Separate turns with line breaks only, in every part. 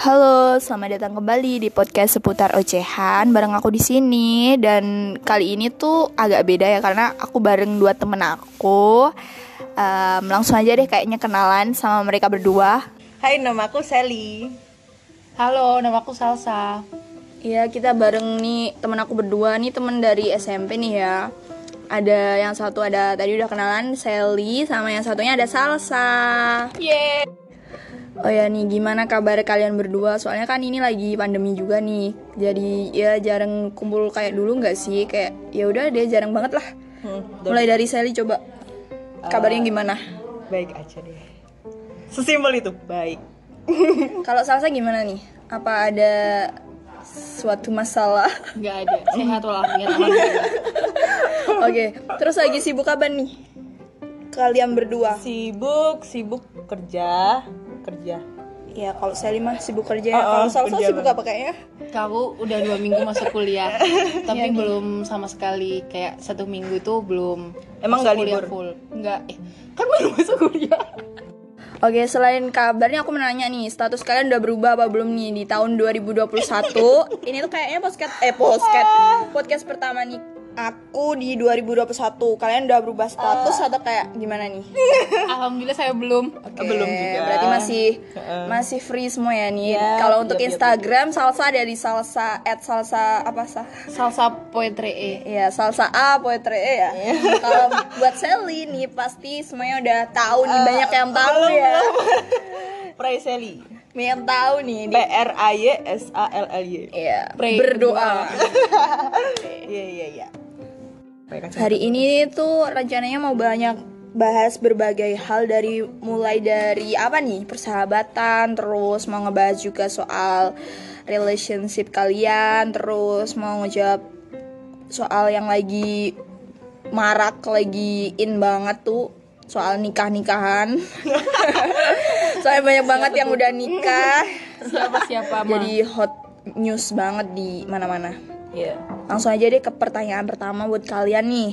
Halo, selamat datang kembali di podcast seputar ocehan bareng aku di sini dan kali ini tuh agak beda ya karena aku bareng dua temen aku. Em, langsung aja deh kayaknya kenalan sama mereka berdua.
Hai, nama aku Sally.
Halo, nama aku Salsa.
Iya, kita bareng nih temen aku berdua nih temen dari SMP nih ya. Ada yang satu ada tadi udah kenalan Sally sama yang satunya ada Salsa.
Yeay.
Oh ya nih gimana kabar kalian berdua? Soalnya kan ini lagi pandemi juga nih. Jadi ya jarang kumpul kayak dulu nggak sih? Kayak ya udah deh jarang banget lah.
Hmm,
Mulai dari Sally coba. Kabarnya gimana?
baik aja deh. Sesimpel itu, baik.
Kalau Salsa gimana nih? Apa ada suatu masalah?
Nggak ada. Sehat walafiat. alhamdulillah.
Oke, terus lagi sibuk apa nih? Kalian berdua.
Sibuk, sibuk kerja, kerja.
Ya kalau Sally mah sibuk kerja.
Oh, oh,
ya. kalau Salsa
kerja
sibuk
banget.
apa kayaknya?
Kamu udah dua minggu masuk kuliah,
Iya,
tapi belum sama sekali kayak satu minggu itu belum.
Emang
masuk
nggak
kuliah
libur?
Full. Nggak. Eh, kan baru masuk kuliah.
Oke, selain kabarnya aku mau nanya nih, status kalian udah berubah apa belum nih di tahun 2021? ini tuh kayaknya podcast eh podcast podcast pertama nih aku di 2021. Kalian udah berubah status atau kayak gimana nih?
Alhamdulillah saya belum.
Oke,
Belum juga.
Berarti masih
Heeh.
masih free semua ya nih.
Yap,
Kalau untuk
yap, yap,
Instagram salsa ada di salsa @salsa apa sah?
Salsa poetry. eh.
Iya, salsa A poetry eh, ya. Kalau buat Sally nih pasti semuanya udah tahu nih banyak yang tahu
Eh, belum,
ya.
Pray Sally.
Banyak yang tahu nih
P
di
R A Y S A L L Y.
Iya,
Pray,
berdoa.
Iya, iya, iya. Baik aja.
Hari ini tuh rencananya mau banyak bahas berbagai hal dari mulai dari apa nih persahabatan, terus mau ngebahas juga soal relationship kalian, terus mau ngejawab soal yang lagi marak lagi in banget tuh soal nikah nikahan. Soalnya banyak banget yang udah nikah,
Siapa siapa Ma?
jadi hot news banget di mana-mana.
Iya.
Langsung aja deh ke pertanyaan pertama buat kalian nih.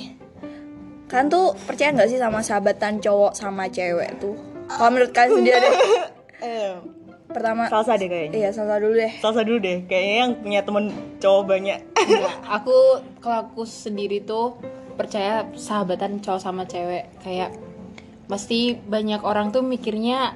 Kalian tuh percaya nggak sih sama sahabatan cowok sama cewek tuh? Kalau menurut kalian sendiri deh.
Eh,
Pertama,
salsa deh kayaknya.
iya salah dulu deh.
Salsa dulu deh, kayaknya yang punya temen cowok banyak.
Nggak. Aku kalau aku sendiri tuh percaya sahabatan cowok sama cewek kayak pasti banyak orang tuh mikirnya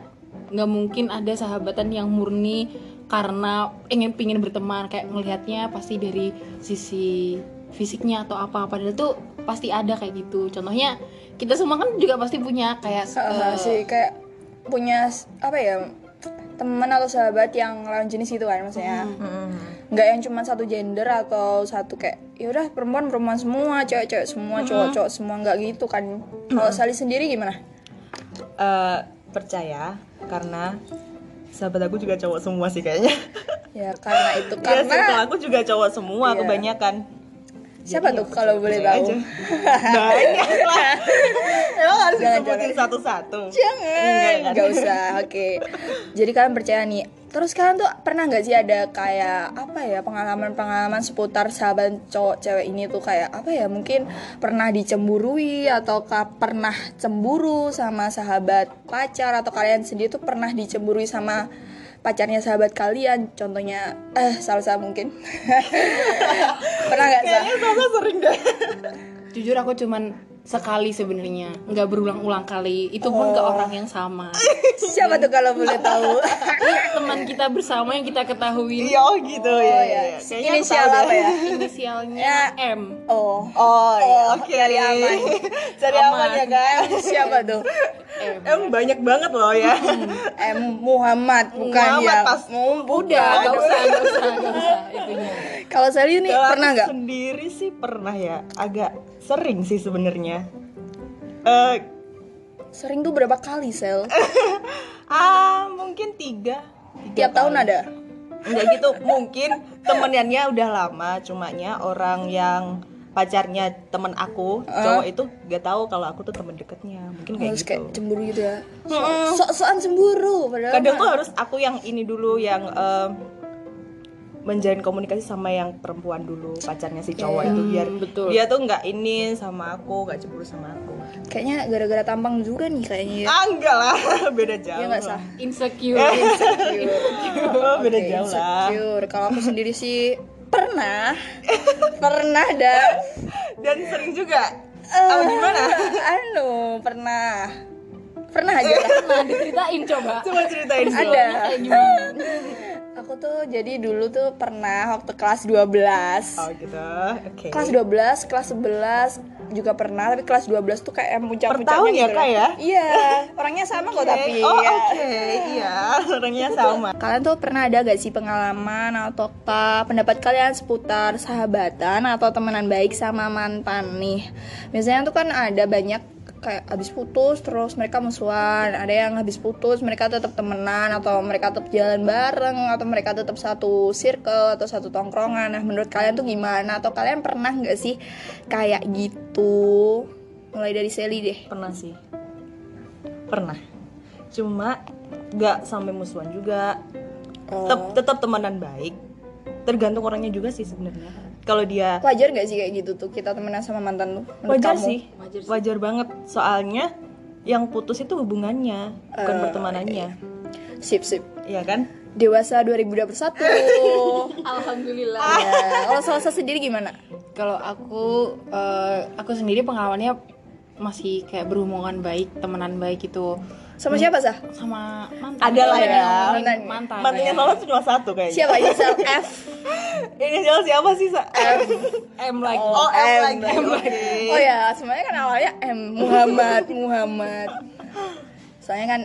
nggak mungkin ada sahabatan yang murni karena ingin pingin berteman kayak ngelihatnya pasti dari sisi fisiknya atau apa padahal tuh pasti ada kayak gitu contohnya kita semua kan juga pasti punya kayak
Sama
eh,
sih kayak punya s- apa ya teman atau sahabat yang lawan jenis gitu kan maksudnya.
Hmm.
Nggak yang cuma satu gender atau satu kayak ya udah perempuan perempuan semua, cewek-cewek
Hmm.
semua, cowok-cowok semua nggak gitu kan. Kalau Sally sendiri gimana?
Eh, percaya karena sahabat aku juga cowok semua sih kayaknya.
Ya karena itu
Karena circle
karena
aku juga cowok semua,
Iya.
kebanyakan.
siapa tuh kalau boleh
Percaya
tahu?
aja. Banyak lah. Emang harus
Jangan,
disebutin satu-satu. Iya kan?
jangan
Enggak,
nggak usah oke jadi kalian percaya nih terus kalian tuh pernah nggak sih ada kayak apa ya pengalaman pengalaman seputar sahabat cowok cewek ini tuh kayak apa ya mungkin pernah dicemburui atau ka- pernah cemburu sama sahabat pacar atau kalian sendiri tuh pernah dicemburui sama pacarnya sahabat kalian contohnya eh salsa mungkin pernah nggak sih
Kayaknya Salsa sering deh.
jujur aku cuman sekali sebenarnya nggak berulang-ulang kali itu pun ke orang yang sama
siapa tuh kalau boleh tahu
Iya, teman kita bersama yang kita ketahui
Iya, oh gitu ya.
oh
ya.
ya
Kayaknya
ini
aku tahu
siapa
deh.
ya
Ya.
inisialnya M
oh
Oh, iya,
Oh,
oke.
cari aman.
Cari aman ya, guys.
siapa tuh
M
Em banyak banget loh ya.
Eh, M Muhammad bukan
Muhammad
ya
pas-
Mu-
Oh,
udah
bukan.
nggak usah nggak usah nggak usah itunya
kalau Sally ini
Kalau aku
pernah nggak
Sendiri sih pernah ya. Agak sering sih sebenarnya. Eh,
sering tuh berapa kali Sel
ah mungkin tiga.
tiap tahun ada
Enggak gitu, mungkin temenannya udah lama, cumanya orang yang pacarnya temen aku cowok itu gak tahu kalau aku tuh temen deketnya mungkin kayak
harus kayak
gitu
cemburu gitu ya so sokan cemburu padahal
kadang
mah-
tuh harus aku yang ini dulu yang eh, menjalin komunikasi sama yang perempuan dulu pacarnya si
Iya.
cowok itu biar
Hmm, betul.
dia tuh nggak ini sama aku nggak cemburu sama aku
Kayaknya gara-gara tampang juga nih kayaknya ya.
ah enggak lah beda jauh
Ya nggak sah.
Eh.
insecure
Oh, beda
Oke,
jauh lah
insecure. Kalau aku sendiri sih pernah, pernah dan
dan sering juga apa gimana
anu pernah, pernah aja lah.
nah diceritain coba
coba ceritain dulu.
Ada.
Kayak gimana?
Aku tuh jadi dulu tuh pernah waktu kelas 12
oh gitu oke
Kelas 12, kelas 11 juga pernah Tapi kelas 12 tuh kayak
Per
puncak-puncaknya
tahun ya,
gitu
Kak,
loh.
ya?
Iya, orangnya sama kok
Oke.
tapi
oh
ya.
oke iya orangnya sama
Kalian tuh pernah ada gak sih pengalaman atau fakta pendapat kalian seputar sahabatan atau temenan baik sama mantan nih? Biasanya tuh kan ada banyak kayak habis putus terus mereka musuhan, ada yang habis putus mereka tetap temenan atau mereka tetap jalan bareng atau mereka tetap satu circle atau satu tongkrongan. Nah, menurut kalian tuh gimana? Atau kalian pernah nggak sih kayak gitu? Mulai dari Sally deh.
pernah sih pernah cuma nggak sampai musuhan juga
Oh.
tetap tetap temenan baik tergantung orangnya juga sih sebenarnya kalau dia
Wajar nggak sih kayak gitu tuh kita temenan sama mantan lu? Menurut
wajar
kamu?
sih
Wajar sih.
wajar banget soalnya yang putus itu hubungannya bukan
Eh,
pertemanannya
Sip, sip.
Iya kan
Dewasa 2021.
alhamdulillah
Ah.
ya, Iya. kalau Salsa sendiri gimana?
kalau aku eh, aku sendiri pengalamannya masih kayak berhubungan baik temenan baik itu
Sama siapa sah?
sama mantan
Ada lah ya.
Iya, mantan mantan,
mantannya Lola tuh cuma satu kayaknya
Siapa? Inisial F.
ini siapa siapa sih Sa?
M lagi
oh, M lagi oke
Oh ya, sebenarnya kan awalnya M Muhammad, Muhammad. Soalnya kan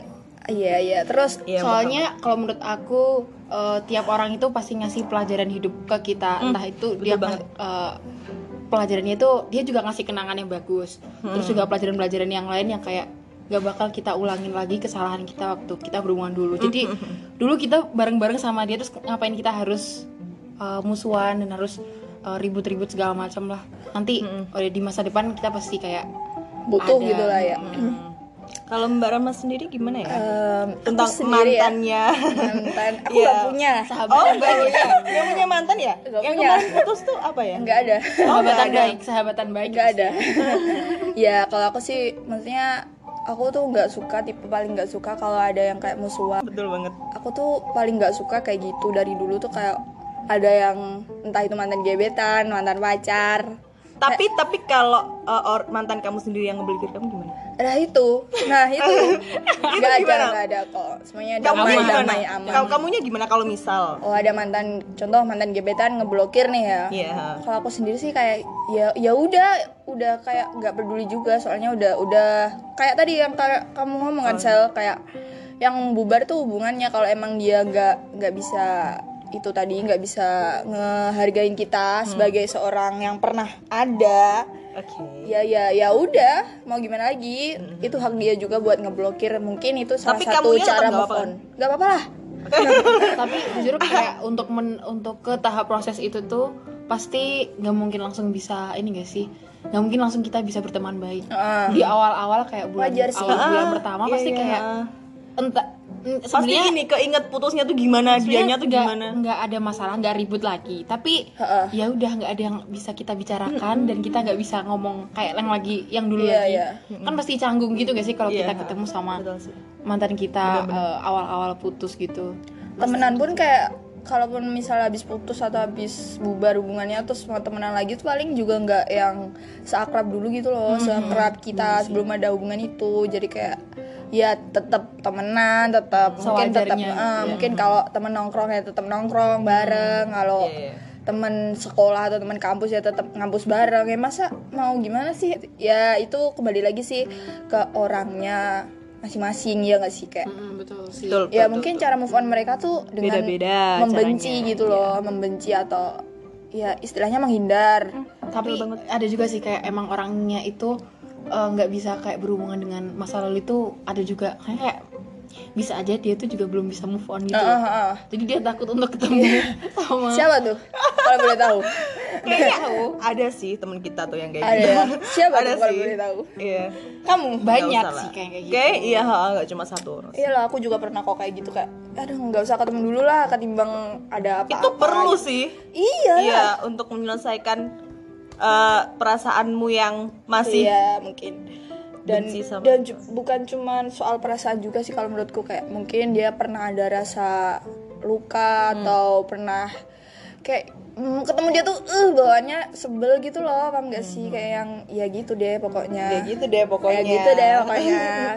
iya iya. Terus
Iya,
Soalnya kalau menurut aku eh, tiap orang itu pasti ngasih pelajaran hidup ke kita. Entah
betul
itu dia
banget.
ngas- eh, pelajarannya itu dia juga ngasih kenangan yang bagus. Terus juga pelajaran-pelajaran yang lain yang kayak gak bakal kita ulangin lagi kesalahan kita waktu kita berhubungan dulu. Jadi dulu kita bareng-bareng sama dia terus ngapain kita harus eh, musuhan dan harus eh, ribut-ribut segala macam lah. Nanti oleh di masa depan kita pasti kayak
butuh
Ada.
gitu lah ya.
Hmm. kalau Mbak Rama sendiri gimana ya
Em, Eh, aku
tentang
sendiri ya,
mantannya
mantan. Aku
Iya.
nggak punya.
sahabat
oh nggak punya nggak punya mantan ya
Nggak
yang
punya.
kemarin putus tuh apa ya
Enggak ada.
sahabatan baik, sahabatan baik. gitu.
Enggak ada. ya kalau aku sih maksudnya aku tuh nggak suka tipe paling nggak suka kalau ada yang kayak musuhan
betul banget
aku tuh paling nggak suka kayak gitu dari dulu tuh kayak ada yang entah itu mantan gebetan, mantan pacar.
tapi
Eh.
tapi kalau uh, or- mantan kamu sendiri yang ngebelikin kamu gimana
Nah itu, nah itu nggak ada
gimana?
nggak ada kok. Semuanya
kamu
damai
gimana
damai aman.
Kau- kamunya gimana kalau misal
Oh ada mantan, contoh mantan gebetan ngeblokir nih ya.
Iya.
Kalau aku sendiri sih kayak ya ya udah udah kayak nggak peduli juga soalnya udah udah kayak tadi yang kayak kamu ngomong kan Sel, kayak yang bubar tuh hubungannya kalau emang dia nggak nggak bisa itu tadi nggak bisa ngehargain kita
Hmm.
sebagai seorang yang pernah ada
oke
ya ya ya udah mau gimana lagi itu hak dia juga buat ngeblokir mungkin itu salah
Hmm. Tapi
satu
kamunya
cara
tetap nggak
move
apa-apa kan?
on nggak apa-apa lah
tapi jujur kayak untuk men, untuk ke tahap proses itu tuh pasti nggak mungkin langsung bisa ini gak sih nggak mungkin langsung kita bisa berteman baik
Heeh.
di awal-awal kayak bulan
Wajar sih.
awal bulan
Ah,
pertama
iya,
pasti
iya.
kayak entah mm,
pasti
sebenarnya
ini keinget putusnya tuh gimana dianya tuh
nggak-
gimana
nggak ada masalah nggak ribut lagi tapi
Heeh.
ya udah nggak ada yang bisa kita bicarakan dan kita nggak bisa ngomong kayak yang lagi yang dulu
Iya,
lagi
iya.
kan pasti canggung gitu gak sih kalau
Iya,
kita ketemu sama
betul sih.
mantan kita eh, awal-awal putus gitu
temenan pun kayak kalaupun misalnya habis putus atau habis bubar hubungannya terus mau temenan lagi tuh paling juga nggak yang seakrab dulu gitu loh
Hmm,
seakrab kita sebelum ada hubungan itu jadi kayak ya tetap temenan tetap mungkin tetap eh,
Sewajarnya,
gitu
iya.
ya.
mungkin kalau temen nongkrong ya tetap nongkrong bareng kalau
Hmm, Iya, iya.
temen sekolah atau temen kampus ya tetap ngampus bareng ya masa mau gimana sih ya itu kembali lagi sih ke orangnya masing-masing ya nggak sih kayak
Mm, betul sih
betul
ya
betul,
mungkin
betul.
cara move on mereka tuh dengan
Hmm. Beda-beda
membenci
Eh, caranya,
gitu loh membenci atau ya istilahnya menghindar
tapi ada juga sih kayak emang orangnya itu eh, nggak bisa kayak berhubungan dengan masa lalu itu ada juga kayak, kayak bisa aja dia tuh juga belum bisa move on gitu
Ah, ah, ah.
jadi dia takut untuk ketemu sama
siapa tuh kalau boleh tahu
kayaknya ada sih teman kita tuh yang kayak
Ada
gitu.
ya? Siapa
ada
tuh kalau
sih
boleh tahu?
iya
kamu
banyak
Nggak usah
sih
lah.
kayak kayak gitu
Kayak iya ha, nggak cuma satu orang
iya lah aku juga pernah kok kayak gitu kayak aduh nggak usah ketemu dulu lah ketimbang ada apa
itu perlu sih
iya
iya untuk menyelesaikan eh, perasaanmu yang masih
Iya, mungkin dan
Benci sama
dan ju- bukan cuman soal perasaan juga sih kalau menurutku kayak mungkin dia pernah ada rasa
Hmm.
luka atau pernah kayak mm, ketemu dia tuh eh bawaannya sebel gitu loh paham gak
Hmm.
sih kayak yang ya gitu deh pokoknya
ya gitu deh pokoknya
Kayak gitu deh pokoknya
Iya.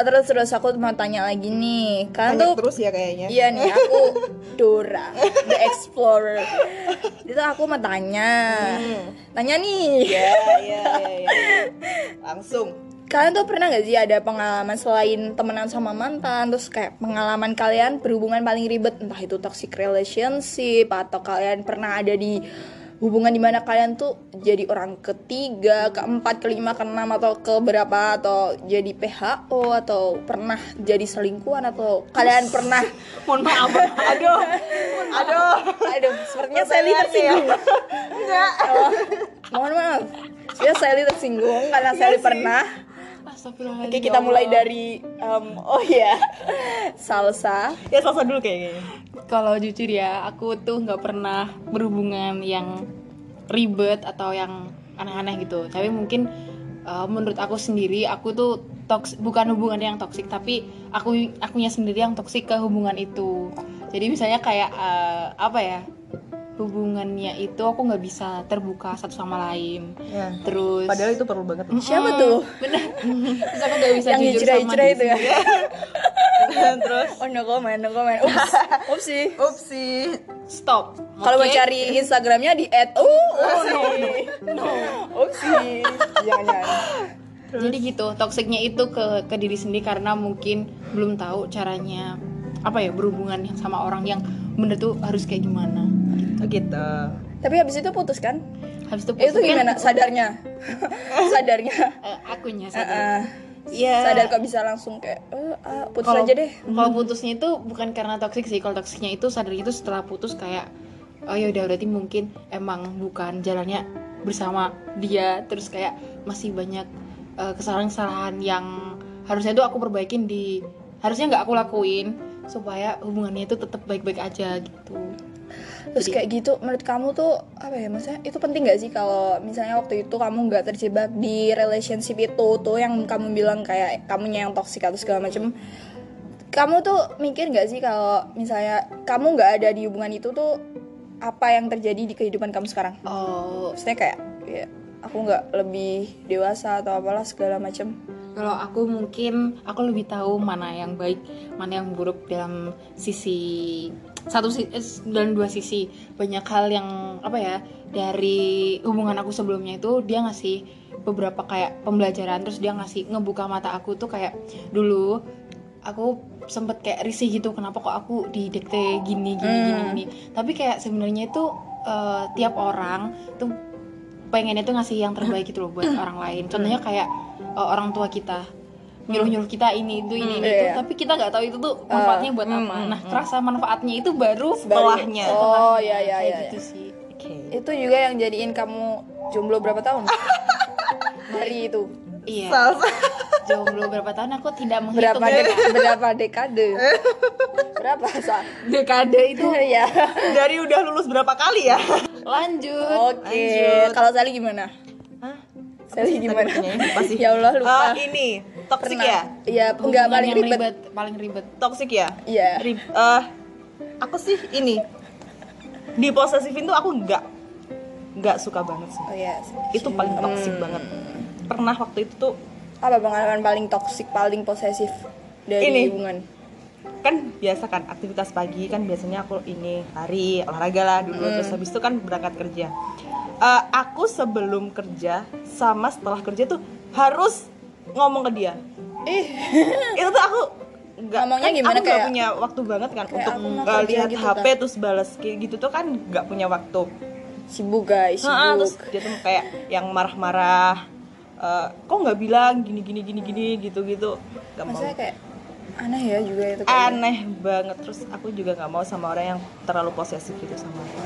Oh, terus terus aku mau tanya lagi nih kan
Lanjut
tuh
terus ya kayaknya
Iya nih aku Dora the Explorer. Itu aku mau tanya.
Hmm.
Tanya nih.
ya ya ya, ya. langsung
Kalian tuh pernah gak sih ada pengalaman selain temenan sama mantan Terus kayak pengalaman kalian berhubungan paling ribet Entah itu toxic relationship Atau kalian pernah ada di hubungan dimana kalian tuh jadi orang ketiga, keempat, kelima, keenam atau keberapa atau jadi PHO atau pernah jadi selingkuhan atau kalian pernah
mohon maaf aduh aduh
Aduh, sepertinya Sally
Pertanyaan
tersinggung. Oh, mohon maaf. Ya Sally tersinggung karena Sally pernah.
Astagfirullahaladzim.
Oke, kita mulai dari em, oh ya. Salsa.
ya selesai dulu kayaknya
Kalau jujur ya, aku tuh nggak pernah berhubungan yang ribet atau yang aneh-aneh gitu. Tapi mungkin uh, menurut aku sendiri, aku tuh toks bukan hubungan yang toksik, tapi aku akunya sendiri yang toksik ke hubungan itu. Jadi misalnya kayak uh, apa ya? Hubungannya itu aku nggak bisa terbuka satu sama lain.
ya
Eh,
Terus
padahal itu perlu banget
Siapa tuh?
bener. Terus aku nggak bisa
Yang
jujur sama
hijrah-hijrah itu
diri
ya.
terus
Oh, no comment, no comment. Ups. Ups sih.
upsi
stop
Kalau mau
Oke?
cari Instagramnya di at oh, oh no, no, no. Ups sih. Jangan, jangan.
jadi gitu toksiknya itu ke ke diri sendiri karena mungkin belum tahu caranya apa ya berhubungan yang sama orang yang bener tuh harus kayak gimana
gitu
Tapi habis itu putus kan?
habis itu
Itu
kan,
gimana sadarnya? sadarnya.
eh,
Eh,
akunya sadar
eh.
Iya.
Sadar kok bisa langsung kayak eh, ah, putus
Kalau-
aja deh.
kalau putusnya itu bukan karena toksik sih kalau toksiknya itu sadarnya itu setelah putus kayak oh ya udah berarti mungkin emang bukan jalannya bersama dia terus kayak masih banyak eh, kesalahan-kesalahan yang harusnya itu aku perbaikin di harusnya nggak aku lakuin supaya hubungannya itu tetap baik-baik aja gitu
Terus kayak gitu, menurut kamu tuh apa ya maksudnya? Itu penting gak sih kalau misalnya waktu itu kamu nggak terjebak di relationship itu tuh yang kamu bilang kayak kamunya yang toksik atau segala macem. Kamu tuh mikir gak sih kalau misalnya kamu nggak ada di hubungan itu tuh apa yang terjadi di kehidupan kamu sekarang?
Oh,
Maksudnya kayak ya, aku nggak lebih dewasa atau apalah segala macem.
kalau aku mungkin aku lebih tahu mana yang baik, mana yang buruk dalam sisi satu si- eh, dalam dua sisi. Banyak hal yang apa ya dari hubungan aku sebelumnya itu dia ngasih beberapa kayak pembelajaran terus dia ngasih ngebuka mata aku tuh kayak dulu aku sempet kayak risih gitu kenapa kok aku didikte gini gini gini
Hmm.
gini tapi kayak sebenarnya itu eh, tiap orang tuh pengennya tuh ngasih yang terbaik gitu loh buat orang lain contohnya kayak eh, orang tua kita nyuruh nyuruh kita ini itu
Hmm,
ini, itu
iya. Eh,
tapi kita nggak tahu itu tuh manfaatnya buat
hmm,
apa
hmm,
nah kerasa manfaatnya itu baru
Setelahnya.
Oh ya ya
Kayak
ya.
gitu sih
oke
Itu juga yang jadiin kamu jomblo berapa tahun? Hari itu.
iya
Salsa.
jomblo berapa tahun aku tidak menghitung
berapa dek- berapa dekade berapa sa
dekade itu
ya
dari udah lulus berapa kali ya
lanjut
oke
Lanjut.
kalau Sally gimana
Hah?
Sally
Tadi
gimana
pertanyaannya apa sih?
ya Allah lupa
Ah, ini toksik
Pernah.
ya
Iya, enggak
Hubungan
paling
yang
ribet
paling ribet
toksik ya
Iya.
Rib eh, aku sih ini di posesifin tuh aku nggak nggak suka banget sih
oh ya
itu paling toksik
Hmm.
banget pernah waktu itu tuh
apa pengalaman paling toksik paling posesif dari
Ini.
hubungan
kan biasa kan aktivitas pagi kan biasanya aku ini lari olahraga lah dulu
Hmm.
terus habis itu kan berangkat kerja Eh, aku sebelum kerja sama setelah kerja tuh harus ngomong ke dia
ih
itu tuh aku nggak
Ngomongnya
kan
gimana
aku nggak
kayak-
punya waktu banget kan
kayak
untuk
aku mau
eh,
kerja
lihat
gitu
HP terus balas kayak gitu tuh kan nggak punya waktu
sibuk guys sibuk
Heeh, terus dia tuh kayak yang marah-marah eh, kok nggak bilang gini gini gini gini gitu gitu nggak mau
maksudnya kayak aneh ya juga itu kayak
aneh banget terus aku juga nggak mau sama orang yang terlalu posesif gitu sama aku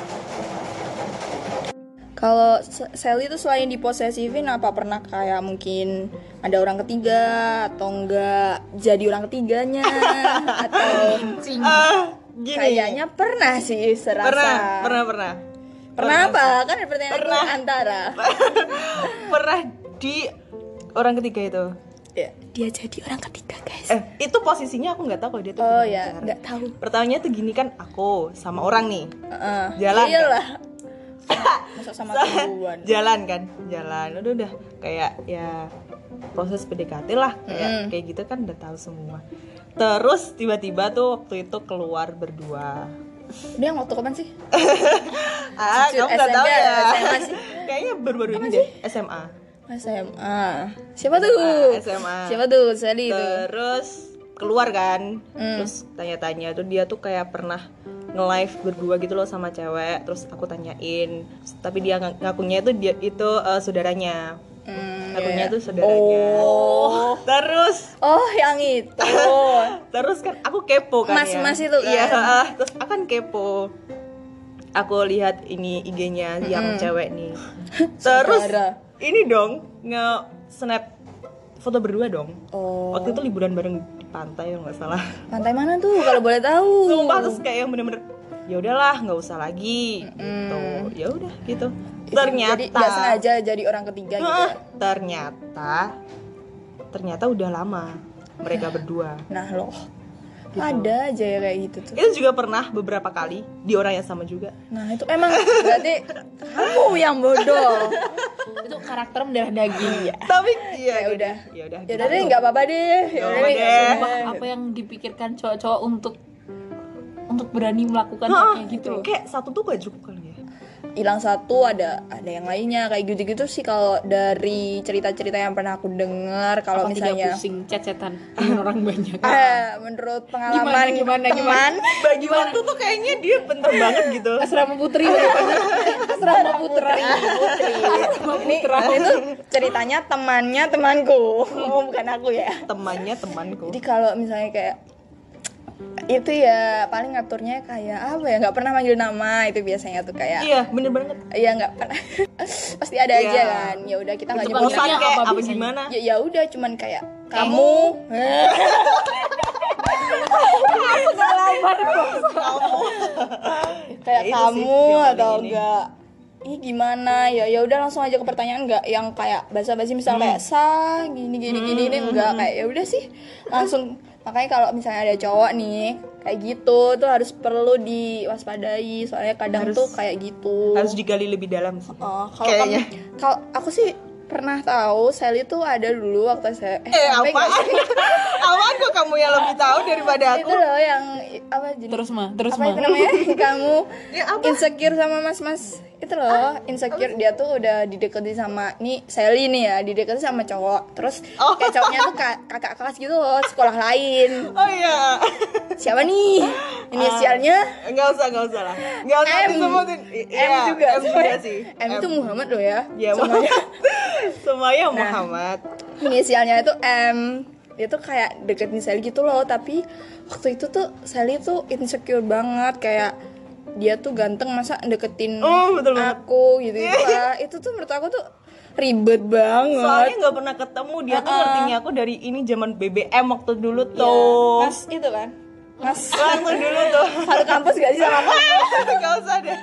Kalau Se- Sally itu selain diposesifin apa pernah kayak mungkin ada orang ketiga atau enggak jadi orang ketiganya atau
Cing.
Ah, gini.
kayaknya pernah sih serasa.
pernah, pernah, pernah.
Pernah apa? Kan ada pertanyaan aku
Pernah.
antara.
pernah di orang ketiga itu.
Ya, Dia jadi orang ketiga, guys.
Eh, itu posisinya aku nggak tahu kalau dia tuh.
Oh
gimana
ya,
cara.
nggak tahu.
Pertanyaannya tuh gini kan aku sama orang nih.
Heeh.
Jalan, kan?
Iyalah. Masuk sama tujuan.
jalan kan jalan udah udah kayak ya proses PDKT lah kayak
Mm.
kayak gitu kan udah tahu semua terus tiba-tiba tuh waktu itu keluar berdua
Dia yang waktu kapan sih?
ah
Jujur,
kamu nggak tahu
SMP,
ya
SMA sih.
kayaknya baru-baru ini deh SMA
SMA. Siapa tuh?
SMA.
Siapa tuh? Sally itu.
terus keluar kan
Mm.
terus tanya-tanya tuh dia tuh kayak pernah nge-live berdua gitu loh sama cewek terus aku tanyain tapi dia ngak- ngakunya itu dia itu eh, saudaranya
Hmm,
ngakunya
iya.
tuh saudaranya
Oh.
terus
Oh, yang itu.
terus kan aku kepo kan ya.
Mas-mas itu kan.
iya heeh. terus aku kan kepo aku lihat ini IG-nya
Hmm.
yang cewek nih terus
Saudara.
ini dong nge snap foto berdua dong
Oh.
waktu itu liburan bareng di pantai kalau nggak salah
Pantai mana tuh kalau boleh tahu?
sumpah terus kayak yang bener-bener ya udahlah nggak usah lagi gitu ya udah gitu
Itu
ternyata
Jadi nggak sengaja jadi orang ketiga gitu.
Heeh,
ya.
ternyata ternyata udah lama mereka berdua
Nah, loh.
Gitu.
Ada aja ya kayak gitu tuh.
itu juga pernah beberapa kali di orang yang sama juga
Nah, itu emang berarti kamu yang bodoh.
itu karakter mendarah
Iya.
daging ya
tapi ya
udah.
ya udah
Ya udah deh, nggak apa-apa deh. Ya udah
Nggak
deh.
apa-apa deh.
nggak apa-apa.
apa yang dipikirkan cowok-cowok untuk untuk berani melakukan hal
Heeh,
kayak gitu loh.
kayak satu tuh gak cukup kali ya
Hilang satu ada ada yang lainnya kayak gitu-gitu sih kalau dari cerita-cerita yang pernah aku dengar kalau
Apa tidak
misalnya
pusing cecetan dengan orang banyak
eh menurut pengalaman
Gimana, gimana,
teman
bagi waktu tuh kayaknya dia bentar banget gitu
asrama putri asrama putra asrama putra
Ini itu ceritanya temannya temanku, oh, bukan aku ya.
temannya temanku
Jadi kalau misalnya kayak itu ya paling ngaturnya kayak apa ya nggak pernah manggil nama itu biasanya tuh kayak
iya bener banget
ya nggak pernah pasti ada
Iya.
aja kan ya udah kita nggak
Itu
mau
nyebut nama.
panggilan. Panggilannya
kayak
apa
apa,
biasanya?
gimana
ya ya udah cuman kayak kamu
pengalaman
kayak
Ya, itu sih
kamu
yang paling
atau
ini.
enggak Ih gimana ya ya udah langsung aja ke pertanyaan enggak yang kayak basa-basi misal
Hmm.
kayak sa gini gini gini ini enggak kayak ya udah sih langsung makanya kalau misalnya ada cowok nih kayak gitu tuh harus perlu diwaspadai soalnya kadang
Harus-
tuh kayak gitu
harus digali lebih dalam sih
Oh, kalau
Kayaknya.
kamu- kalau aku sih pernah tahu Sally tuh ada dulu waktu saya
eh
sampai
apa
nggak sih?
apaan kok kamu yang lebih tahu daripada aku
itu loh yang i- apa jadi
terus mah terus
apa
mah
itu namanya kamu
ya apa Ah,
insecure sama mas-mas itu loh insecure dia tuh udah dideketin sama nih Sally nih ya dideketin sama cowok terus
Oh.
kayak cowoknya tuh ka- kakak kelas gitu loh sekolah lain
oh iya
siapa nih
Ah.
inisialnya
nggak usah nggak usah lah nggak usah
M
disebutin I-
M
iya,
juga
M juga sih
M itu Muhammad loh ya
ya
semuanya
semuanya
Nah.
Muhammad
inisialnya itu M dia tuh kayak deketin Sally gitu loh tapi waktu itu tuh Sally tuh insecure banget kayak dia tuh ganteng masa deketin
Oh, betul banget.
aku gitu lah itu tuh menurut aku tuh ribet
soalnya
banget
nggak pernah ketemu dia tuh
Uh-uh.
ngertinya aku dari ini zaman BBM waktu dulu
Ya,
tuh
mas itu kan mas
waktu dulu tuh
satu kampus gak sih sama aku
nggak usah deh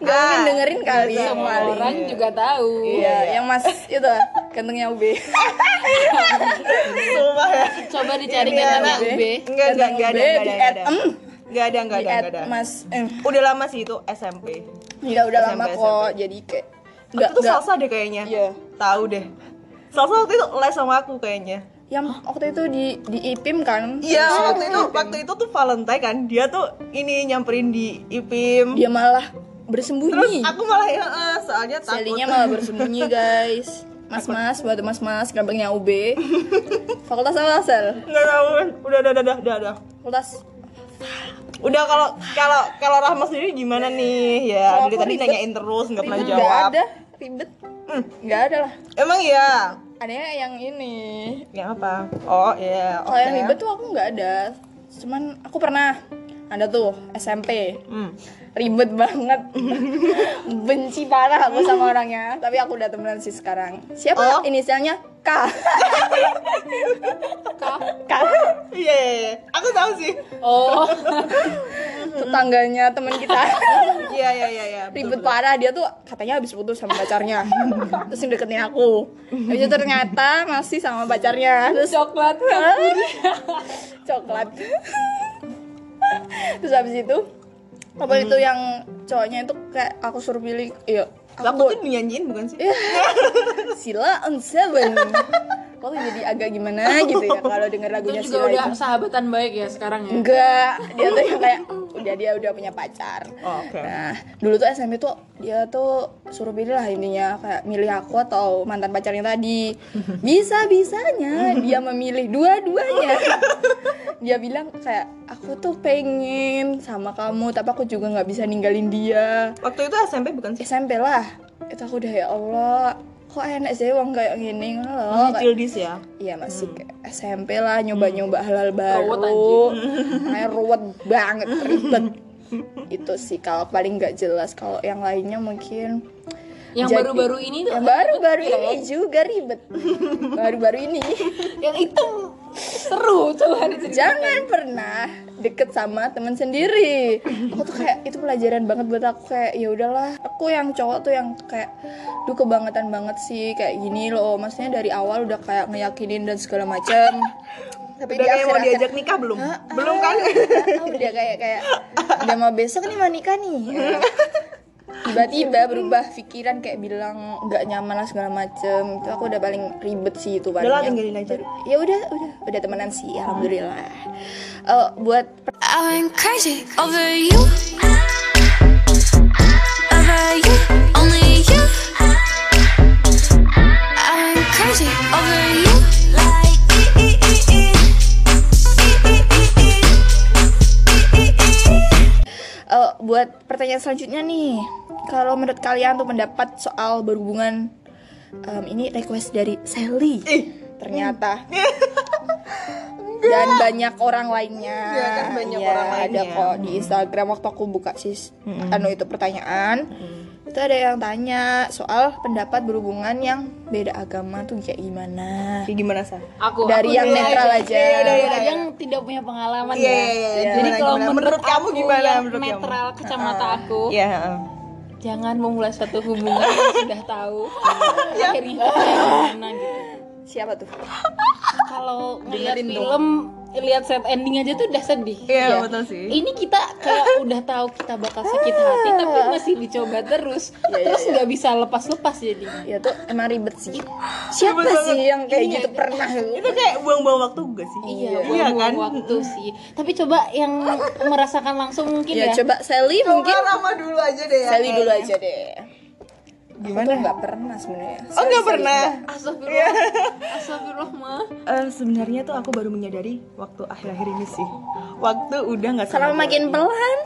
Ah,
nggak mungkin dengerin kali
semua
kali.
orang juga tahu
iya yang mas itu kan, gantengnya UB
sumpah ya
coba dicari
Iya, iya.
gantengnya UB
nggak nggak nggak ada
Ganteng di
nggak ada
add em.
nggak ada nggak
di
ada
add
nggak ada
mas M
udah lama sih itu SMP
ya udah lama
SMP.
kok jadi kayak
Waktu
nggak
itu
nggak-
salsa deh kayaknya
Iya.
tahu deh salsa waktu itu les sama aku kayaknya
yang waktu itu di di IPIM kan
Iya
Terus
waktu itu waktu itu tuh Valentine kan dia tuh ini nyamperin di IPIM
dia malah
terus
bersembunyi
aku malah ya eh, soalnya takut
Selinya malah bersembunyi guys mas-mas buat mas-mas gampangnya UB fakultas apa sel
nggak tahu kan udah udah udah udah udah, udah.
fakultas
Udah kalau kalau kalau Rahma sendiri gimana nih? Ya,
Kalau aku
dari tadi
ribet.
nanyain terus nggak pernah
ribet nggak
jawab.
ada ribet
Hmm.
nggak ada lah
Emang iya.
adanya yang ini
Ya apa? Oh iya.
kalau yang
oke.
ribet tuh aku nggak ada cuman aku pernah ada tuh SMP
Hmm.
ribet banget benci parah aku sama orangnya tapi aku udah temenan sih sekarang siapa
Oh.
inisialnya K K
Iya, iya, iya. aku tahu sih.
Oh,
tetangganya teman kita
Iya, iya, iya, iya. Betul,
ribet
betul.
parah dia tuh katanya habis putus sama pacarnya terus yang deketin aku Habis itu ternyata masih sama pacarnya terus
coklat.
coklat terus habis itu apa
Hmm.
itu yang cowoknya itu kayak aku suruh pilih iya
Lah,
aku
Aku tuh nyanyiin bukan sih?
Sila on Seven kok jadi agak gimana gitu ya kalau denger
Itu
lagunya
juga
Sila
udah
itu
sahabatan baik ya sekarang
Hmm.
ya.
enggak dia tuh yang kayak udah dia udah punya pacar
Oh, oke.
nah dulu tuh SMP tuh dia tuh suruh pilih lah intinya kayak milih aku atau mantan pacarnya tadi bisa bisanya dia memilih dua-duanya dia bilang kayak aku tuh pengen sama kamu tapi aku juga nggak bisa ninggalin dia
Waktu itu SMP bukan sih?
SMP lah itu aku udah ya Allah kok enak sih uang kayak gini ngono loh
Masih childish ya.
Iya masih kayak SMP lah
Hmm.
nyoba-nyoba hal-hal baru,
Ruwet, anjing.
kayak ruwet banget ribet. itu sih kalau paling nggak jelas kalau yang lainnya mungkin
Yang
Jadi-
baru-baru ini tuh
yang baru-baru ini juga ribet baru-baru ini
yang itu seru coba diceritakan.
jangan pernah deket sama teman sendiri aku tuh kayak itu pelajaran banget buat aku kayak ya udahlah aku yang cowok tuh yang kayak duh kebangetan banget sih kayak gini loh maksudnya dari awal udah kayak ngeyakinin dan segala macem tapi
Udah
di
kayak mau
akhir-akhir-
diajak nikah belum?
Ah,
Belum kan?
Ah, udah kayak kayak udah mau besok nih mau nikah nih Eh, tiba-tiba berubah pikiran kayak bilang nggak nyaman lah segala macem itu aku udah paling ribet sih itu
Udah lah,
palingnya.
tinggalin aja.
ya udah udah udah temenan sih alhamdulillah Eh, buat
I'm crazy over you. Over you, only you. I'm crazy over you. Like e- e- e- e. E- e- e- e.
eh, buat pertanyaan selanjutnya nih kalau menurut kalian tuh pendapat soal berhubungan em, ini request dari Sally
Ih.
ternyata dan banyak orang lainnya
Iya kan, banyak
Iya,
orang
ada
lainnya.
kok di Instagram waktu aku buka sis anu itu pertanyaan itu ada yang tanya soal pendapat berhubungan yang beda agama tuh kayak gimana
Kayak gimana, Sa?
Aku
dari
aku
yang
dulu
netral aja
Iya, iya, iya.
Dari yang tidak punya pengalaman
Iya,
ya.
iya, iya.
Iya.
Jadi
Gimana, gimana?
kalau menurut,
Menurut kamu
aku
gimana?
yang
Menurut kamu?
netral kacamata aku,
Iya, heeh.
jangan memulai suatu hubungan yang sudah tahu akhirnya kayak gimana gitu.
siapa tuh
Kalau ngeliat
Dengerin dong.
film, lihat set ending aja tuh udah sedih.
Iya,
Iya.
betul sih.
Ini kita kayak udah tahu kita bakal sakit hati tapi masih dicoba terus,
Ah. Iya, iya,
terus
iya.
nggak bisa lepas-lepas jadi.
ya tuh emang ribet sih siapa
Ribet
sih
banget.
yang kayak
Iya,
gitu
iya.
pernah
Itu kayak buang-buang waktu gak sih?
Iya,
iya
buang-buang
kan?
waktu sih. Tapi coba yang merasakan langsung mungkin
ya
ya.
coba Sally
Mungkin
mungkin
lama dulu aja deh ya.
Sally dulu
kayaknya.
aja deh gimana nggak pernah sebenarnya
Oh,
Sally-
nggak
Sally
pernah.
nggak. Iya.
Astagfirullah. Astagfirullah, Ma.
Eh, sebenarnya tuh aku baru menyadari waktu akhir-akhir ini sih. Waktu udah nggak sama
Selama
dia
makin
lagi.
pelan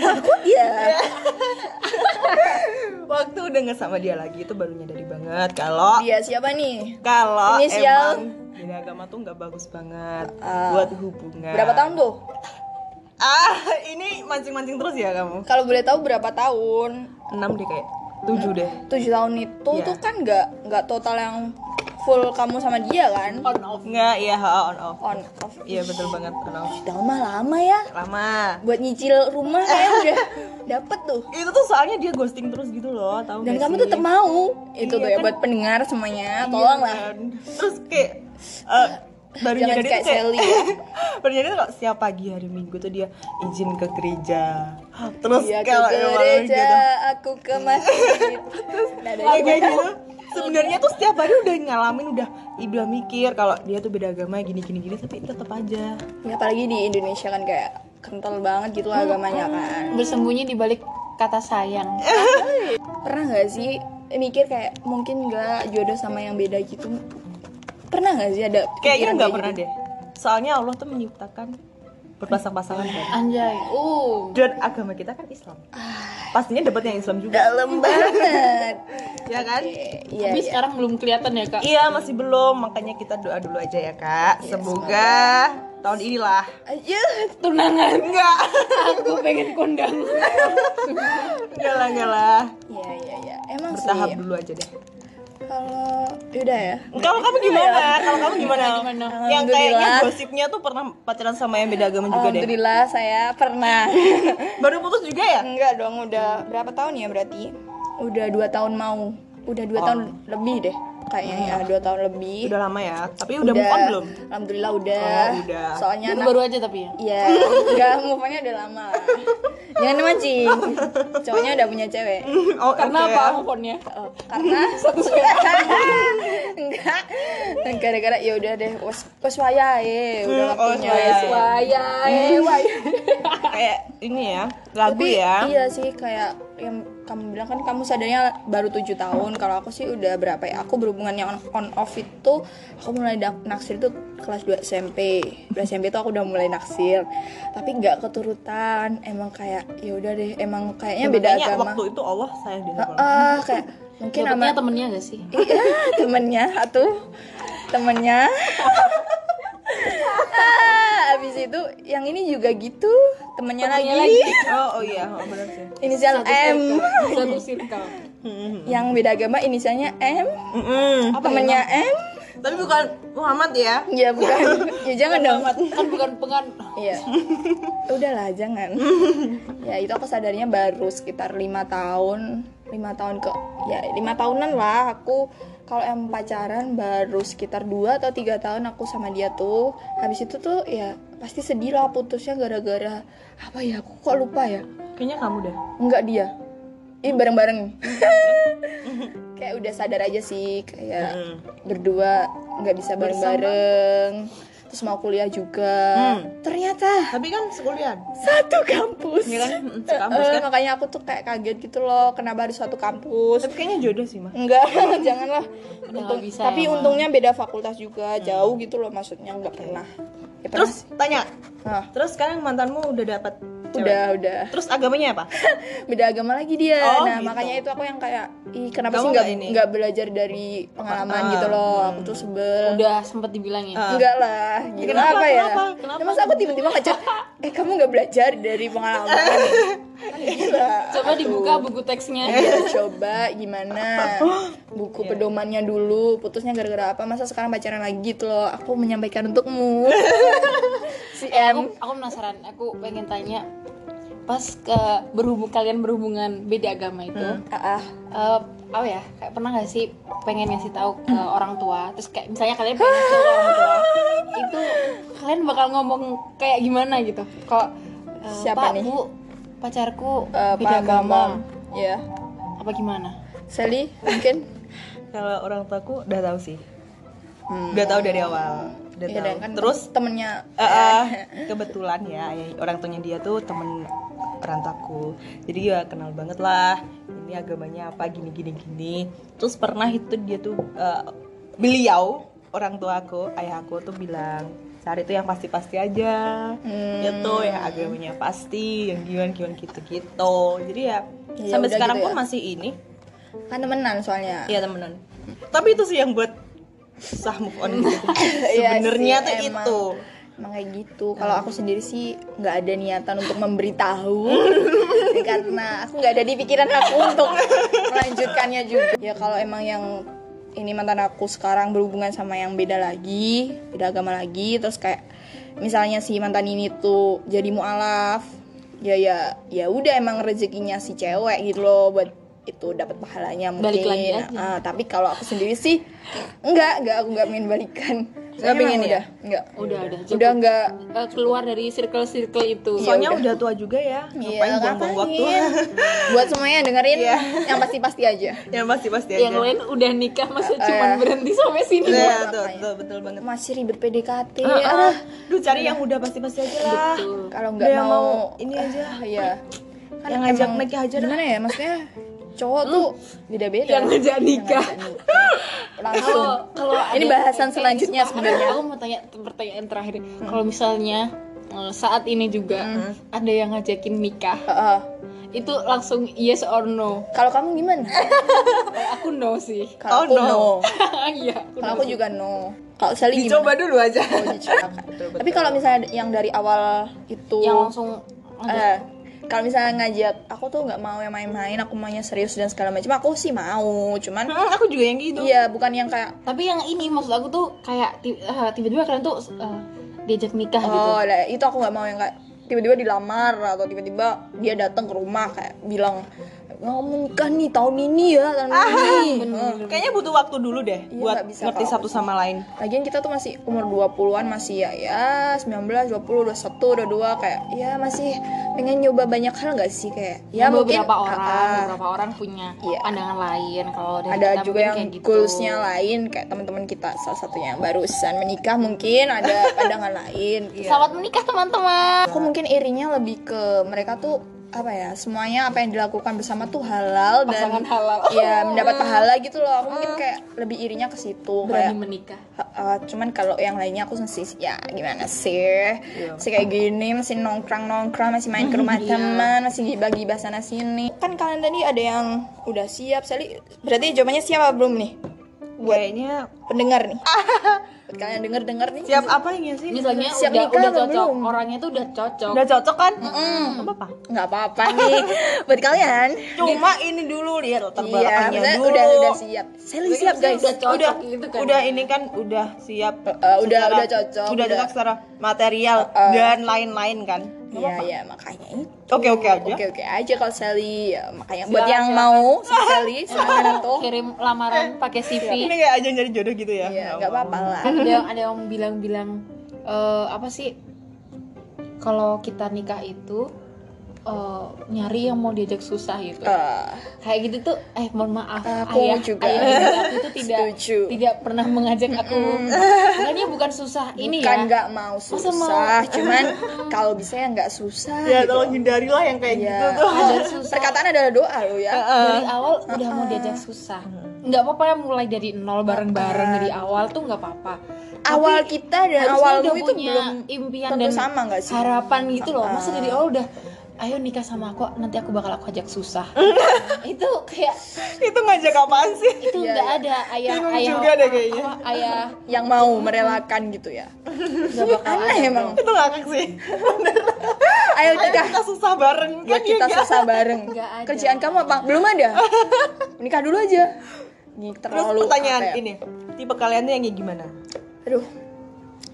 Takut
Iya.
ya
Waktu udah nggak sama dia lagi itu baru nyadari banget kalau
Dia siapa nih?
kalau
Inisial.
emang beda agama tuh nggak bagus banget
Ah.
buat hubungan.
Berapa tahun tuh?
Ah, ini mancing-mancing terus ya kamu.
Kalau boleh tahu berapa tahun?
6 deh kayak. 7 deh.
7 tahun itu
Iya.
tuh kan nggak nggak total yang full kamu sama dia kan?
On off.
Nggak, iya ha, on off.
On off.
Iya betul banget on off.
7 tahun mah lama ya.
Lama.
Buat nyicil rumah kayak udah dapet tuh.
Itu tuh soalnya dia ghosting terus gitu loh, tahu
Dan
nggak
kamu
sih?
tetap mau. Itu
Iya
tuh ya
kan?
buat pendengar semuanya,
Iya,
tolonglah.
kan. Terus kayak eh, baru
Jangan
nyadari
kayak
tuh kayak
Sally ya.
baru nyadari tuh kalau setiap pagi hari Minggu tuh dia izin ke gereja. Terus
Iya ke
kalau emang
gereja,
gitu.
aku ke masjid. Nadanya
Kayak
kayak
gitu. Sebenarnya tuh setiap hari udah ngalamin udah udah mikir kalau dia tuh beda agama gini gini gini tapi tetap aja.
Ya apalagi di Indonesia kan kayak kental banget gitu lah agamanya kan.
Bersembunyi di balik kata sayang.
Pernah nggak sih mikir kayak mungkin nggak jodoh sama yang beda gitu? Pernah nggak sih ada
Kayaknya
pikiran
nggak
kayak
pernah
gitu?
deh. Soalnya Allah tuh menciptakan berpasang-pasangan kan.
Anjay. Uh.
Dan agama kita kan Islam. Pastinya dapat yang Islam juga,
Ah. Dalam banget.
ya kan?
Eh, Iya.
Tapi
iya.
sekarang belum kelihatan ya, Kak.
Iya masih belum, makanya kita doa dulu aja ya kak. semoga, tahun inilah
Ayo,
tunangan
enggak
aku pengen kondang
enggak lah enggak lah
ya ya ya. Emang
bertahap
sih.
dulu aja deh Iya.
Kalau yaudah ya.
kalau kamu gimana kalau kamu gimana
Gimana?
yang kayaknya
Alhamdulillah.
gosipnya tuh pernah pacaran sama yang beda agama juga deh
Alhamdulillah saya pernah.
baru putus juga ya
Enggak dong, udah berapa tahun ya berarti? Udah dua tahun mau. Udah dua tahun lebih deh. Kayaknya ya dua tahun lebih.
udah lama ya tapi udah, move on belum
Alhamdulillah udah.
Oh, udah.
Soalnya anak-
baru aja tapi ya
Iya, enggak move on-nya udah lama. Jangan mancing. Cowoknya udah punya cewek.
oh,
karena
oke.
apa move
Oh, karena enggak gara-gara ya udah deh was was wayahe, udah
Hmm, oh,
waktunya
wes wayahe.
wayahe, wayahe.
kayak ini ya lagu
Tapi
ya
Iya sih kayak yang kamu bilang kan kamu sadarnya baru tujuh tahun. Kalau aku sih udah berapa ya? Aku berhubungan yang on, on off itu aku mulai dak- naksir itu kelas 2 SMP. 2 SMP itu aku udah mulai naksir. Tapi nggak keturutan. Emang kayak ya udah deh, emang kayaknya beda
Makanya
agama.
waktu itu Allah sayang dia sama orang.
Heeh, kayak mungkin sama
dapetnya temennya gak sih
Iya, temennya satu temennya Ah, abis itu yang ini juga gitu temennya,
Temennya
lagi,
oh oh iya oh, benar sih
inisial M
satu circle
yang beda agama inisialnya M
Mm-mm.
temennya M
tapi bukan Muhammad ya
ya bukan ya jangan dong
kan bukan pengen
iya udahlah jangan ya itu aku sadarnya baru sekitar lima tahun lima tahun ke ya lima tahunan lah aku kalau yang pacaran baru sekitar dua atau tiga tahun aku sama dia tuh habis itu tuh ya pasti sedih lah putusnya gara-gara apa ya aku kok lupa ya
kayaknya kamu dah
Enggak dia. Ini bareng-bareng. kayak udah sadar aja sih kayak
Mm.
berdua nggak bisa bareng-bareng. Terus mau kuliah juga.
Hmm.
Ternyata
tapi kan sekulian
satu kampus.
Iya kan? Mm, sekampus
Eh,
kan?
makanya aku tuh kayak kaget gitu loh, kenapa harus satu kampus?
tapi kayaknya jodoh sih mah
Enggak, janganlah.
Udah
Untung-
nggak bisa
tapi
ya, Ma.
untungnya beda fakultas juga, jauh gitu loh maksudnya nggak pernah. Ya pernah
Hmm. terus
sih.
tanya
Hah,
terus sekarang mantanmu udah dapat cewek?
udah, udah.
terus agamanya apa
beda agama lagi dia.
Oh,
nah,
gitu.
makanya itu aku yang kayak ih kenapa
Kamu
sih nggak
nggak ini?
nggak belajar dari pengalaman
Ah,
gitu loh. Aku tuh sebel.
udah sempet dibilangin
Ah.
Enggak lah, gila
Kenapa,
apa ya?
kenapa, kenapa?
Ya, masa aku tiba-tiba ngecek, eh kamu nggak belajar dari pengalaman? Kan gila.
coba dibuka buku teksnya
Iya, coba gimana buku
Iya.
pedomannya dulu putusnya gara-gara apa masa sekarang pacaran lagi gitu loh aku menyampaikan untukmu si M
aku penasaran aku pengen tanya pas ke berhubung kalian berhubungan beda agama itu
ah ah.
eh apa ya kayak pernah gak sih pengen ngasih tahu ke orang tua terus kayak misalnya kalian pengen ngasih tahu ke orang tua itu kalian bakal ngomong kayak gimana gitu kok eh,
Siapa
Pak,
nih?
Bu, pacarku
Eh,
beda agama
pengalaman. ya
apa gimana
Sally mungkin
kalau orang tuaku udah tahu sih udah tahu dari awal udah
Hmm. Iya,
tahu
dan kan
terus
temennya
Eh, eh, kebetulan ya ayah- orang tuanya dia tuh temen orang tuaku jadi ya kenal banget lah ini agamanya apa gini gini gini terus pernah itu dia tuh eh, beliau orang tua aku ayah aku tuh bilang cari tuh yang pasti pasti aja ya
Hmm.
tuh yang agamanya pasti yang gimana gimana gitu gitu jadi ya,
Ya,
sampai
udah
sekarang
gitu
pun
ya.
masih ini
kan temenan soalnya
Iya temenan. Tapi itu sih yang buat susah move on gitu.
Iya
Sebenarnya
sih,
tuh
emang.
itu.
emang kayak gitu kalau aku sendiri sih nggak ada niatan untuk memberitahu Ya, karena aku nggak ada di pikiran aku untuk melanjutkannya juga ya kalau emang yang ini mantan aku sekarang berhubungan sama yang beda lagi beda agama lagi terus kayak misalnya si mantan ini tuh jadi mualaf ya ya ya udah emang rezekinya si cewek gitu loh buat itu dapat pahalanya mungkin
Balik lagi aja.
Ah, tapi kalau aku sendiri sih enggak enggak aku nggak pengen balikan
Nggak
Soalnya
pengen
emang
ya?
udah enggak
udah udah cukup.
udah enggak
Eh, keluar dari circle-circle itu
Soalnya
udah.
udah tua juga ya. Ngapain
Iya,
buang-buang waktu?
ngapain? Buat semuanya yang dengerin
Iya.
yang pasti-pasti aja.
yang pasti pasti Ya, aja.
yang lain udah nikah masa
Eh,
cuman
eh.
berhenti sampai sini
Iya,
buat
tuh,
ngapain? Iya.
tuh, betul banget.
Masih ribet PDKT.
Ah,
ya.
ah.
aduh.
Duh cari yang udah pasti pasti aja lah.
Betul.
Kalau
Udah
nggak
yang
mau,
mau ini aja.
ah, iya. Kan
Yang ngajak
emang-
nikah aja dah.
Gimana ya maksudnya? Cowok tuh beda-beda.
Yang ngajak nikah.
Yang ngajak nikah. Langsung.
kalau
ini
ada-
bahasan
kayak- gitu,
selanjutnya
aku-
sebenarnya. Hmm.
aku mau tanya pertanyaan terakhir kalau misalnya eh, eh, saat ini juga ada yang ngajakin nikah
Heeh.
itu langsung yes or no
Ah, Kalau kamu gimana?
Kalau aku no sih
Kalau
Oh,
aku
no.
no.
iya aku
Kalau
no
aku
sih.
juga no. Kalau Sally
Dicoba
gimana?
dulu aja.
Oh, dicoba.
Betul, betul.
Tapi kalau misalnya yang dari awal itu
yang langsung
eh, kalau misalnya ngajak aku tuh nggak mau yang main-main, aku maunya serius dan segala macam. Aku sih mau, cuman
Hmm, aku juga yang gitu.
iya bukan yang kayak
tapi yang ini maksud aku tuh kayak ti- eh, tiba-tiba kalian tuh eh, diajak nikah gitu
oh lah, itu aku nggak mau yang kayak tiba-tiba dilamar atau tiba-tiba dia datang ke rumah kayak bilang ngomong nikah nih tahun ini ya tahun ini.
Ah,
Oh. Heeh.
Ah, Hmm. Kayaknya butuh waktu dulu deh
Iya,
buat
nggak bisa
ngerti
kalau
satu sama lain.
Lagian kita tuh masih umur 20-an masih ya ya 19, 20, 21, 22 kayak ya masih pengen nyoba banyak hal nggak sih kayak ya mungkin
beberapa orang
ah,
beberapa orang punya
Iya.
pandangan lain kalau dari
ada
kita
juga
mungkin
yang
kayak gitu.
goalsnya lain kayak teman-teman kita salah satunya yang barusan menikah mungkin ada pandangan lain. gitu.
selamat menikah teman-teman
Aku mungkin irinya lebih ke mereka tuh apa ya semuanya apa yang dilakukan bersama tuh halal
Pasangan
dan
halal. Ah.
ya mendapat pahala gitu loh. Aku mungkin kayak lebih irinya ke situ
berani
kayak
menikah
Uh, cuman kalau yang lainnya aku masih ya gimana sih
Iya.
masih kayak gini masih nongkrang nongkrang masih main ke rumah teman masih gibah-gibah sana sini kan kalian tadi ada yang udah siap Sally berarti jawabannya siap apa belum nih Iya.
Kayaknya
pendengar nih buat kalian denger dengar nih
siap apa ya sih?
misalnya
Siap
udah
nikah
udah
apa
cocok
belum?
orangnya tuh udah cocok
Udah cocok kan? Nggak apa-apa.
Hmm, nggak apa-apa nih buat kalian
Cuma ini dulu lihat latar
iya
belakangnya
maksudnya
dulu.
udah udah siap Sally
Berarti
siap
maksudnya
guys
udah cocok
udah
gitu kan
udah ini kan udah siap
eh, udah-
secara-
udah cocok,
udah
udah- Eh,
cocok secara material dan lain-lain kan
iya iya makanya itu
oke oke aja
oke oke aja kalau Sally ya, makanya buat
Silakan,
yang
silakan.
mau sama Sally silakan atau
Oh. kirim
Eh,
lamaran pakai CV
ini kayak aja nyari jodoh gitu ya
iya nggak apa-apa lah
ada yang ada yang bilang-bilang eh, apa sih kalau kita nikah itu eh, nyari yang mau diajak susah gitu
Eh,
kayak gitu tuh eh mohon maaf
Aku
ayah
juga.
ayah dari aku tuh tidak
Setuju.
tidak pernah mengajak aku makanya bukan susah ini
kan
ya
nggak mau
mau?
susah cuman kalau bisa ya nggak susah
ya
gitu.
tolong hindarilah yang kayak
Iya.
gitu tuh
ada susah
perkataan adalah doa lo ya
dari awal udah mau diajak susah nggak apa-apa ya mulai dari nol bareng-bareng dari awal tuh nggak apa-apa
Ah. awal kita dan
eh, Harusnya
awalmu
udah
itu
punya
belum
impian
tentu
dan
sama nggak sih Ah.
harapan gitu loh masa dari awal udah ayo nikah sama aku nanti aku bakal aku ajak susah itu kayak
itu ngajak apaan sih
itu
Iya,
nggak ada ayah
Bingung
ayah
juga deh kayaknya.
apa, ayah
yang mau merelakan gitu ya
nggak bakal
aneh
ada
emang
dong.
itu ngakak sih
ayo
Ayo
nikah
kita susah bareng
buat Iya.
Iya,
Ya, kita
iya.
susah bareng
Nggak ada.
kerjaan kamu apa belum ada nikah dulu aja Ini
terus
terlalu
pertanyaan
apa ya?
ini tipe kalian tuh yang kayak gimana
aduh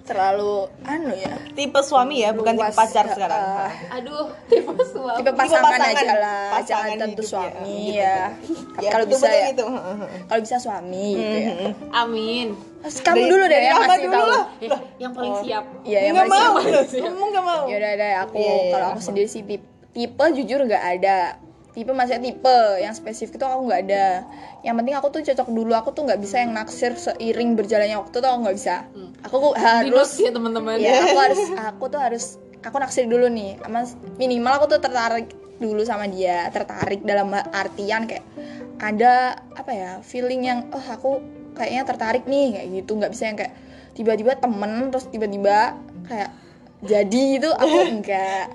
terlalu anu ya
tipe suami ya bukan tipe
Luas,
pacar
eh,
sekarang
eh,
aduh tipe suami
tipe pasangan,
pasangan,
aja lah
pasangan
jangan tentu
hidup ya,
suami
gitu,
ya,
Ya,
kalau bisa
betul-betul
ya
gitu.
kalau bisa suami gitu ya
amin
Terus kamu
Dari-
dulu deh
dari
yang
apa
masih
dulu
tahu
lah?
Eh, yang paling siap
iya yang
nggak
masih
mau kamu nggak mau
ya udah deh aku
Iya, iya,
kalau aku sendiri sih tipe, tipe jujur nggak ada tipe maksudnya tipe yang spesifik itu aku nggak ada yang penting aku tuh cocok dulu aku tuh nggak bisa yang naksir seiring berjalannya waktu tuh aku nggak bisa
Hmm.
aku ku- harus
Dinos ya teman-teman
ya aku harus aku tuh harus aku naksir dulu nih sama minimal aku tuh tertarik dulu sama dia tertarik dalam artian kayak ada apa ya feeling yang oh aku kayaknya tertarik nih kayak gitu nggak bisa yang kayak tiba-tiba temen terus tiba-tiba kayak jadi gitu aku enggak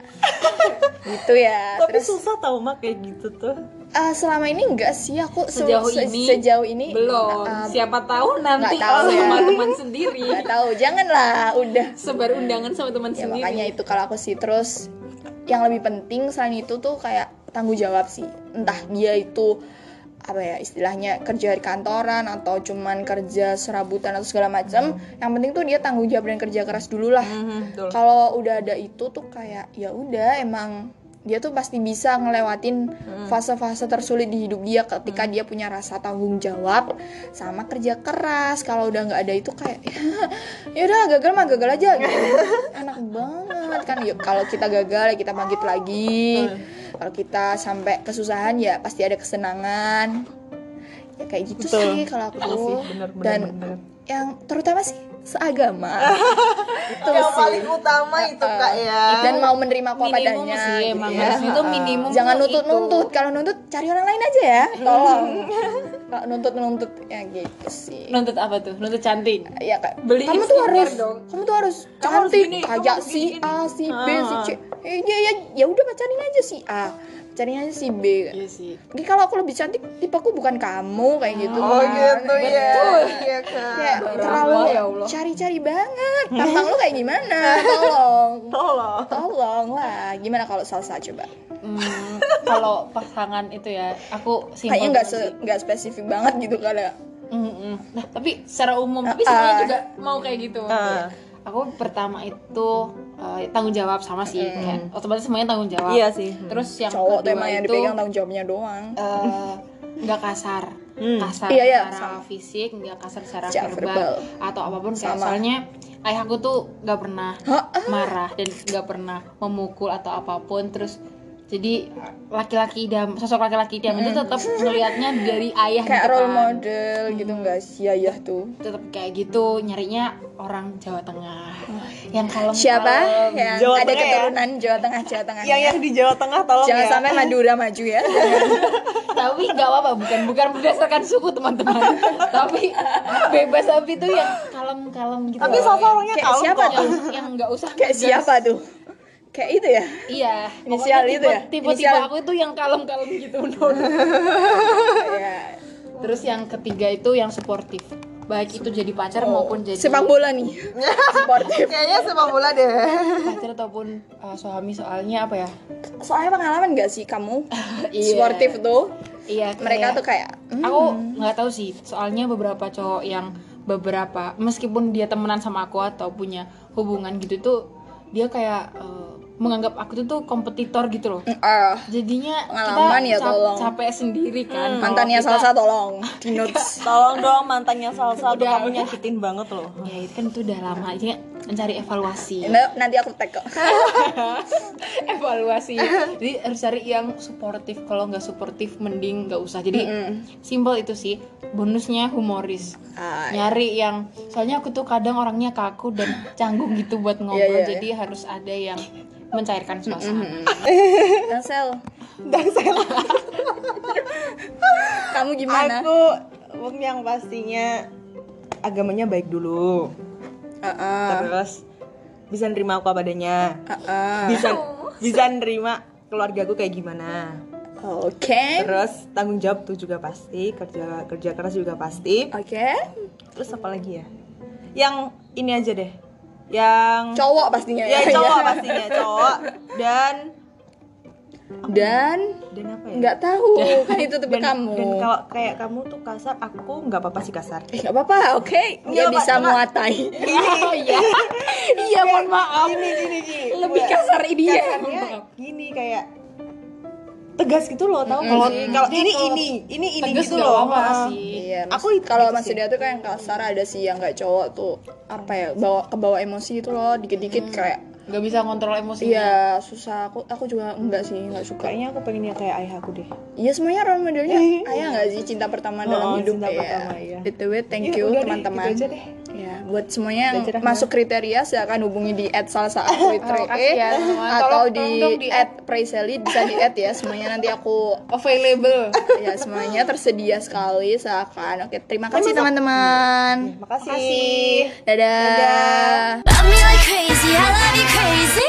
gitu ya
tapi
terus
susah tau mak kayak gitu tuh
eh, selama ini enggak sih aku se-
sejauh
se-
ini
sejauh ini
belum
eh,
siapa tahu
nggak
nanti
tahu
kalau
ya.
sama teman sendiri
nggak tahu janganlah udah
sebar undangan sama teman
ya
sendiri
makanya itu kalau aku sih terus yang lebih penting selain itu tuh kayak tanggung jawab sih entah dia itu apa ya istilahnya kerja di kantoran atau cuman kerja serabutan atau segala macam yang penting tuh dia tanggung jawab dan kerja keras dulu lah
betul.
kalau udah ada itu tuh kayak ya udah emang dia tuh pasti bisa ngelewatin
Hmm.
fase-fase tersulit di hidup dia ketika dia punya rasa tanggung jawab sama kerja keras kalau udah nggak ada itu kayak ya udah gagal mah gagal aja gitu enak banget kan yuk kalau kita gagal ya kita bangkit lagi kalau kita sampai kesusahan ya pasti ada kesenangan ya kayak gitu
Betul.
sih kalau aku
Betul sih, benar, benar,
dan
benar.
yang terutama sih seagama itu
yang
sih
paling utama itu kak ya
dan mau menerima aku apa
minimum
adanya
sih
gitu
emang
ya.
harusnya itu minimum
gitu.
jangan
tuh
nuntut
itu.
nuntut kalau nuntut cari orang lain aja ya tolong Kalau nuntut-nuntut ya gitu sih.
Nuntut apa tuh? Nuntut cantik.
Ya kayak
Beliin
kamu tuh
skincare
harus
dong.
kamu tuh harus
Kamu harus
cantik
gini, kamu
kayak
harus
si
gini,
A, si B, si
Ah.
C. Eh, ya ya ya udah pacarin aja si A. Pacarin aja si B.
Iya sih.
Mungkin kalau aku lebih cantik tipeku bukan kamu kayak gitu.
Oh
kan.
gitu ya.
Betul.
Iya kan.
Kayak
Baru
terlalu
awal ya Allah.
cari-cari banget. Tampang lu kayak gimana? Tolong.
Tolong.
Tolong lah. Gimana kalau salsa coba?
Hmm, kalau pasangan itu ya, aku simpel
Kayaknya nggak
banget
se-
sih.
nggak spesifik banget gitu kan ya.
Mm, mm. Nah, tapi secara umum, tapi
Ah,
sebenarnya
ah.
juga mau kayak gitu.
Ah.
Aku pertama itu eh, tanggung jawab sama sih, kayak otomatis semuanya tanggung jawab.
Iya sih.
Terus yang
Hmm. Cowok tuh
kedua
emang yang
itu
dipegang tanggung jawabnya doang.
eh, nggak kasar,
Hmm.
kasar
Iya, iya,
secara
sama.
fisik, nggak kasar secara
Secara
verbal,
verbal.
atau apapun. Kayak
Sama.
soalnya ayah aku tuh nggak pernah
Hah?
marah dan nggak pernah memukul atau apapun. Terus jadi laki-laki dam sosok laki-laki diam itu tetap melihatnya dari ayah
Hmm. kayak
gitu
role
kan.
model gitu nggak sih ya tuh
tetap kayak gitu nyarinya orang Jawa Tengah yang kalau
Oh. siapa yang
Jawa
ada
Tengah ya?
keturunan Jawa Tengah Jawa Tengah
Iya,
Yang yang di Jawa Tengah tolong
jangan
ya.
sampai Madura maju ya
tapi nggak apa-apa bukan bukan berdasarkan suku teman-teman tapi bebas tapi itu yang kalem-kalem gitu
Tapi
loh,
Salsa orangnya
Kayak
kalem
siapa
kok.
yang yang nggak usah
kayak
ngegas.
siapa tuh kayak itu ya
iya
Inisial
pokoknya
itu ya?
tipe tipe
Inisial.
aku itu yang kalem-kalem gitu Nur.
ya
terus yang ketiga itu yang suportif baik itu jadi
Oh.
pacar maupun jadi
sepak bola nih sportif
Kayaknya sepak bola deh.
pacar ataupun uh, suami soalnya apa ya
soalnya pengalaman nggak sih kamu
Iya.
sportif tuh
iya
mereka
kayak-
tuh kayak "Hmm,
aku nggak tahu sih soalnya beberapa cowok yang beberapa meskipun dia temenan sama aku atau punya hubungan gitu tuh dia kayak eh, menganggap aku tuh tuh kompetitor gitu loh
ah,
jadinya
Pengalaman ya,
kita
tolong. Mm.
capek sendiri kan Kalau
mantannya
kita-
salsa tolong di notes
Tolong dong mantannya Salsa tuh
Udah.
kamu nyakitin banget loh.
ya itu kan itu udah lama jadi mencari evaluasi
Nah, nanti aku tag kok
evaluasi jadi harus cari yang suportif kalau nggak suportif mending nggak usah jadi simpel itu sih bonusnya humoris
Ah,
nyari yang soalnya aku tuh kadang orangnya kaku dan canggung gitu buat ngobrol
Iya, iya, iya.
jadi harus ada yang mencairkan suasana
Dansel
Dansel.
kamu gimana
Aku um, yang pastinya agamanya baik dulu.
Ah, ah,
Terus bisa nerima aku apa adanya.
ah, ah.
Bisa bisa nerima keluarga aku kayak gimana. Eh.
oke
Terus tanggung jawab tuh juga pasti, kerja kerja keras juga pasti.
oke
Terus apa lagi ya? Yang ini aja deh. Yang
cowok pastinya
ya
ya.
cowok pastinya, cowok dan
dan
dan apa ya?
nggak tahu kan itu tipe
dan,
kamu
dan kalau kayak kamu tuh kasar, aku nggak apa-apa sih kasar.
Eh, nggak apa-apa oke dia
Nggak
bisa
apa-apa.
muatai
oh iya iya mohon maaf
Gini gini gini.
lebih kasar ya. dia
Kasarnya gini kayak tegas gitu loh, tau kalau
Mm-mm.
kalau gitu. ini
Kalau
ini ini ini
tegas
gitu
nggak
loh.
apa-apa
Ah.
sih
Iya, mas-
Aku itu gitu
kalau
sih.
masih dia tuh kayak yang kasar ada sih yang nggak cowok tuh apa ya bawa kebawa emosi itu loh
Hmm.
dikit-dikit kayak
nggak bisa kontrol emosinya
iya susah aku aku juga enggak sih nggak suka
Kayaknya aku pengennya kayak ayah aku deh.
iya semuanya role modelnya ayah nggak sih cinta pertama
Iya. Oh,
dalam hidup
cinta
ya
pertama, iya.
btw thank
Ya,
you
udah deh,
teman-teman
gitu aja deh.
Ya, buat semuanya yang
Udah Oh, cerah,
masuk kriteria silakan hubungi di @salsaatwitre
kasih ya, teman-teman.
atau
Tolong- tolong dong
di
di
@preseli bisa di add ya semuanya nanti aku
available
ya semuanya tersedia sekali silakan. Oke, terima kasih
Terima kasih. Iya,
teman-teman.
Hmm. Makasih.
Dadah.
Dadah.
Love me like crazy, I love you crazy.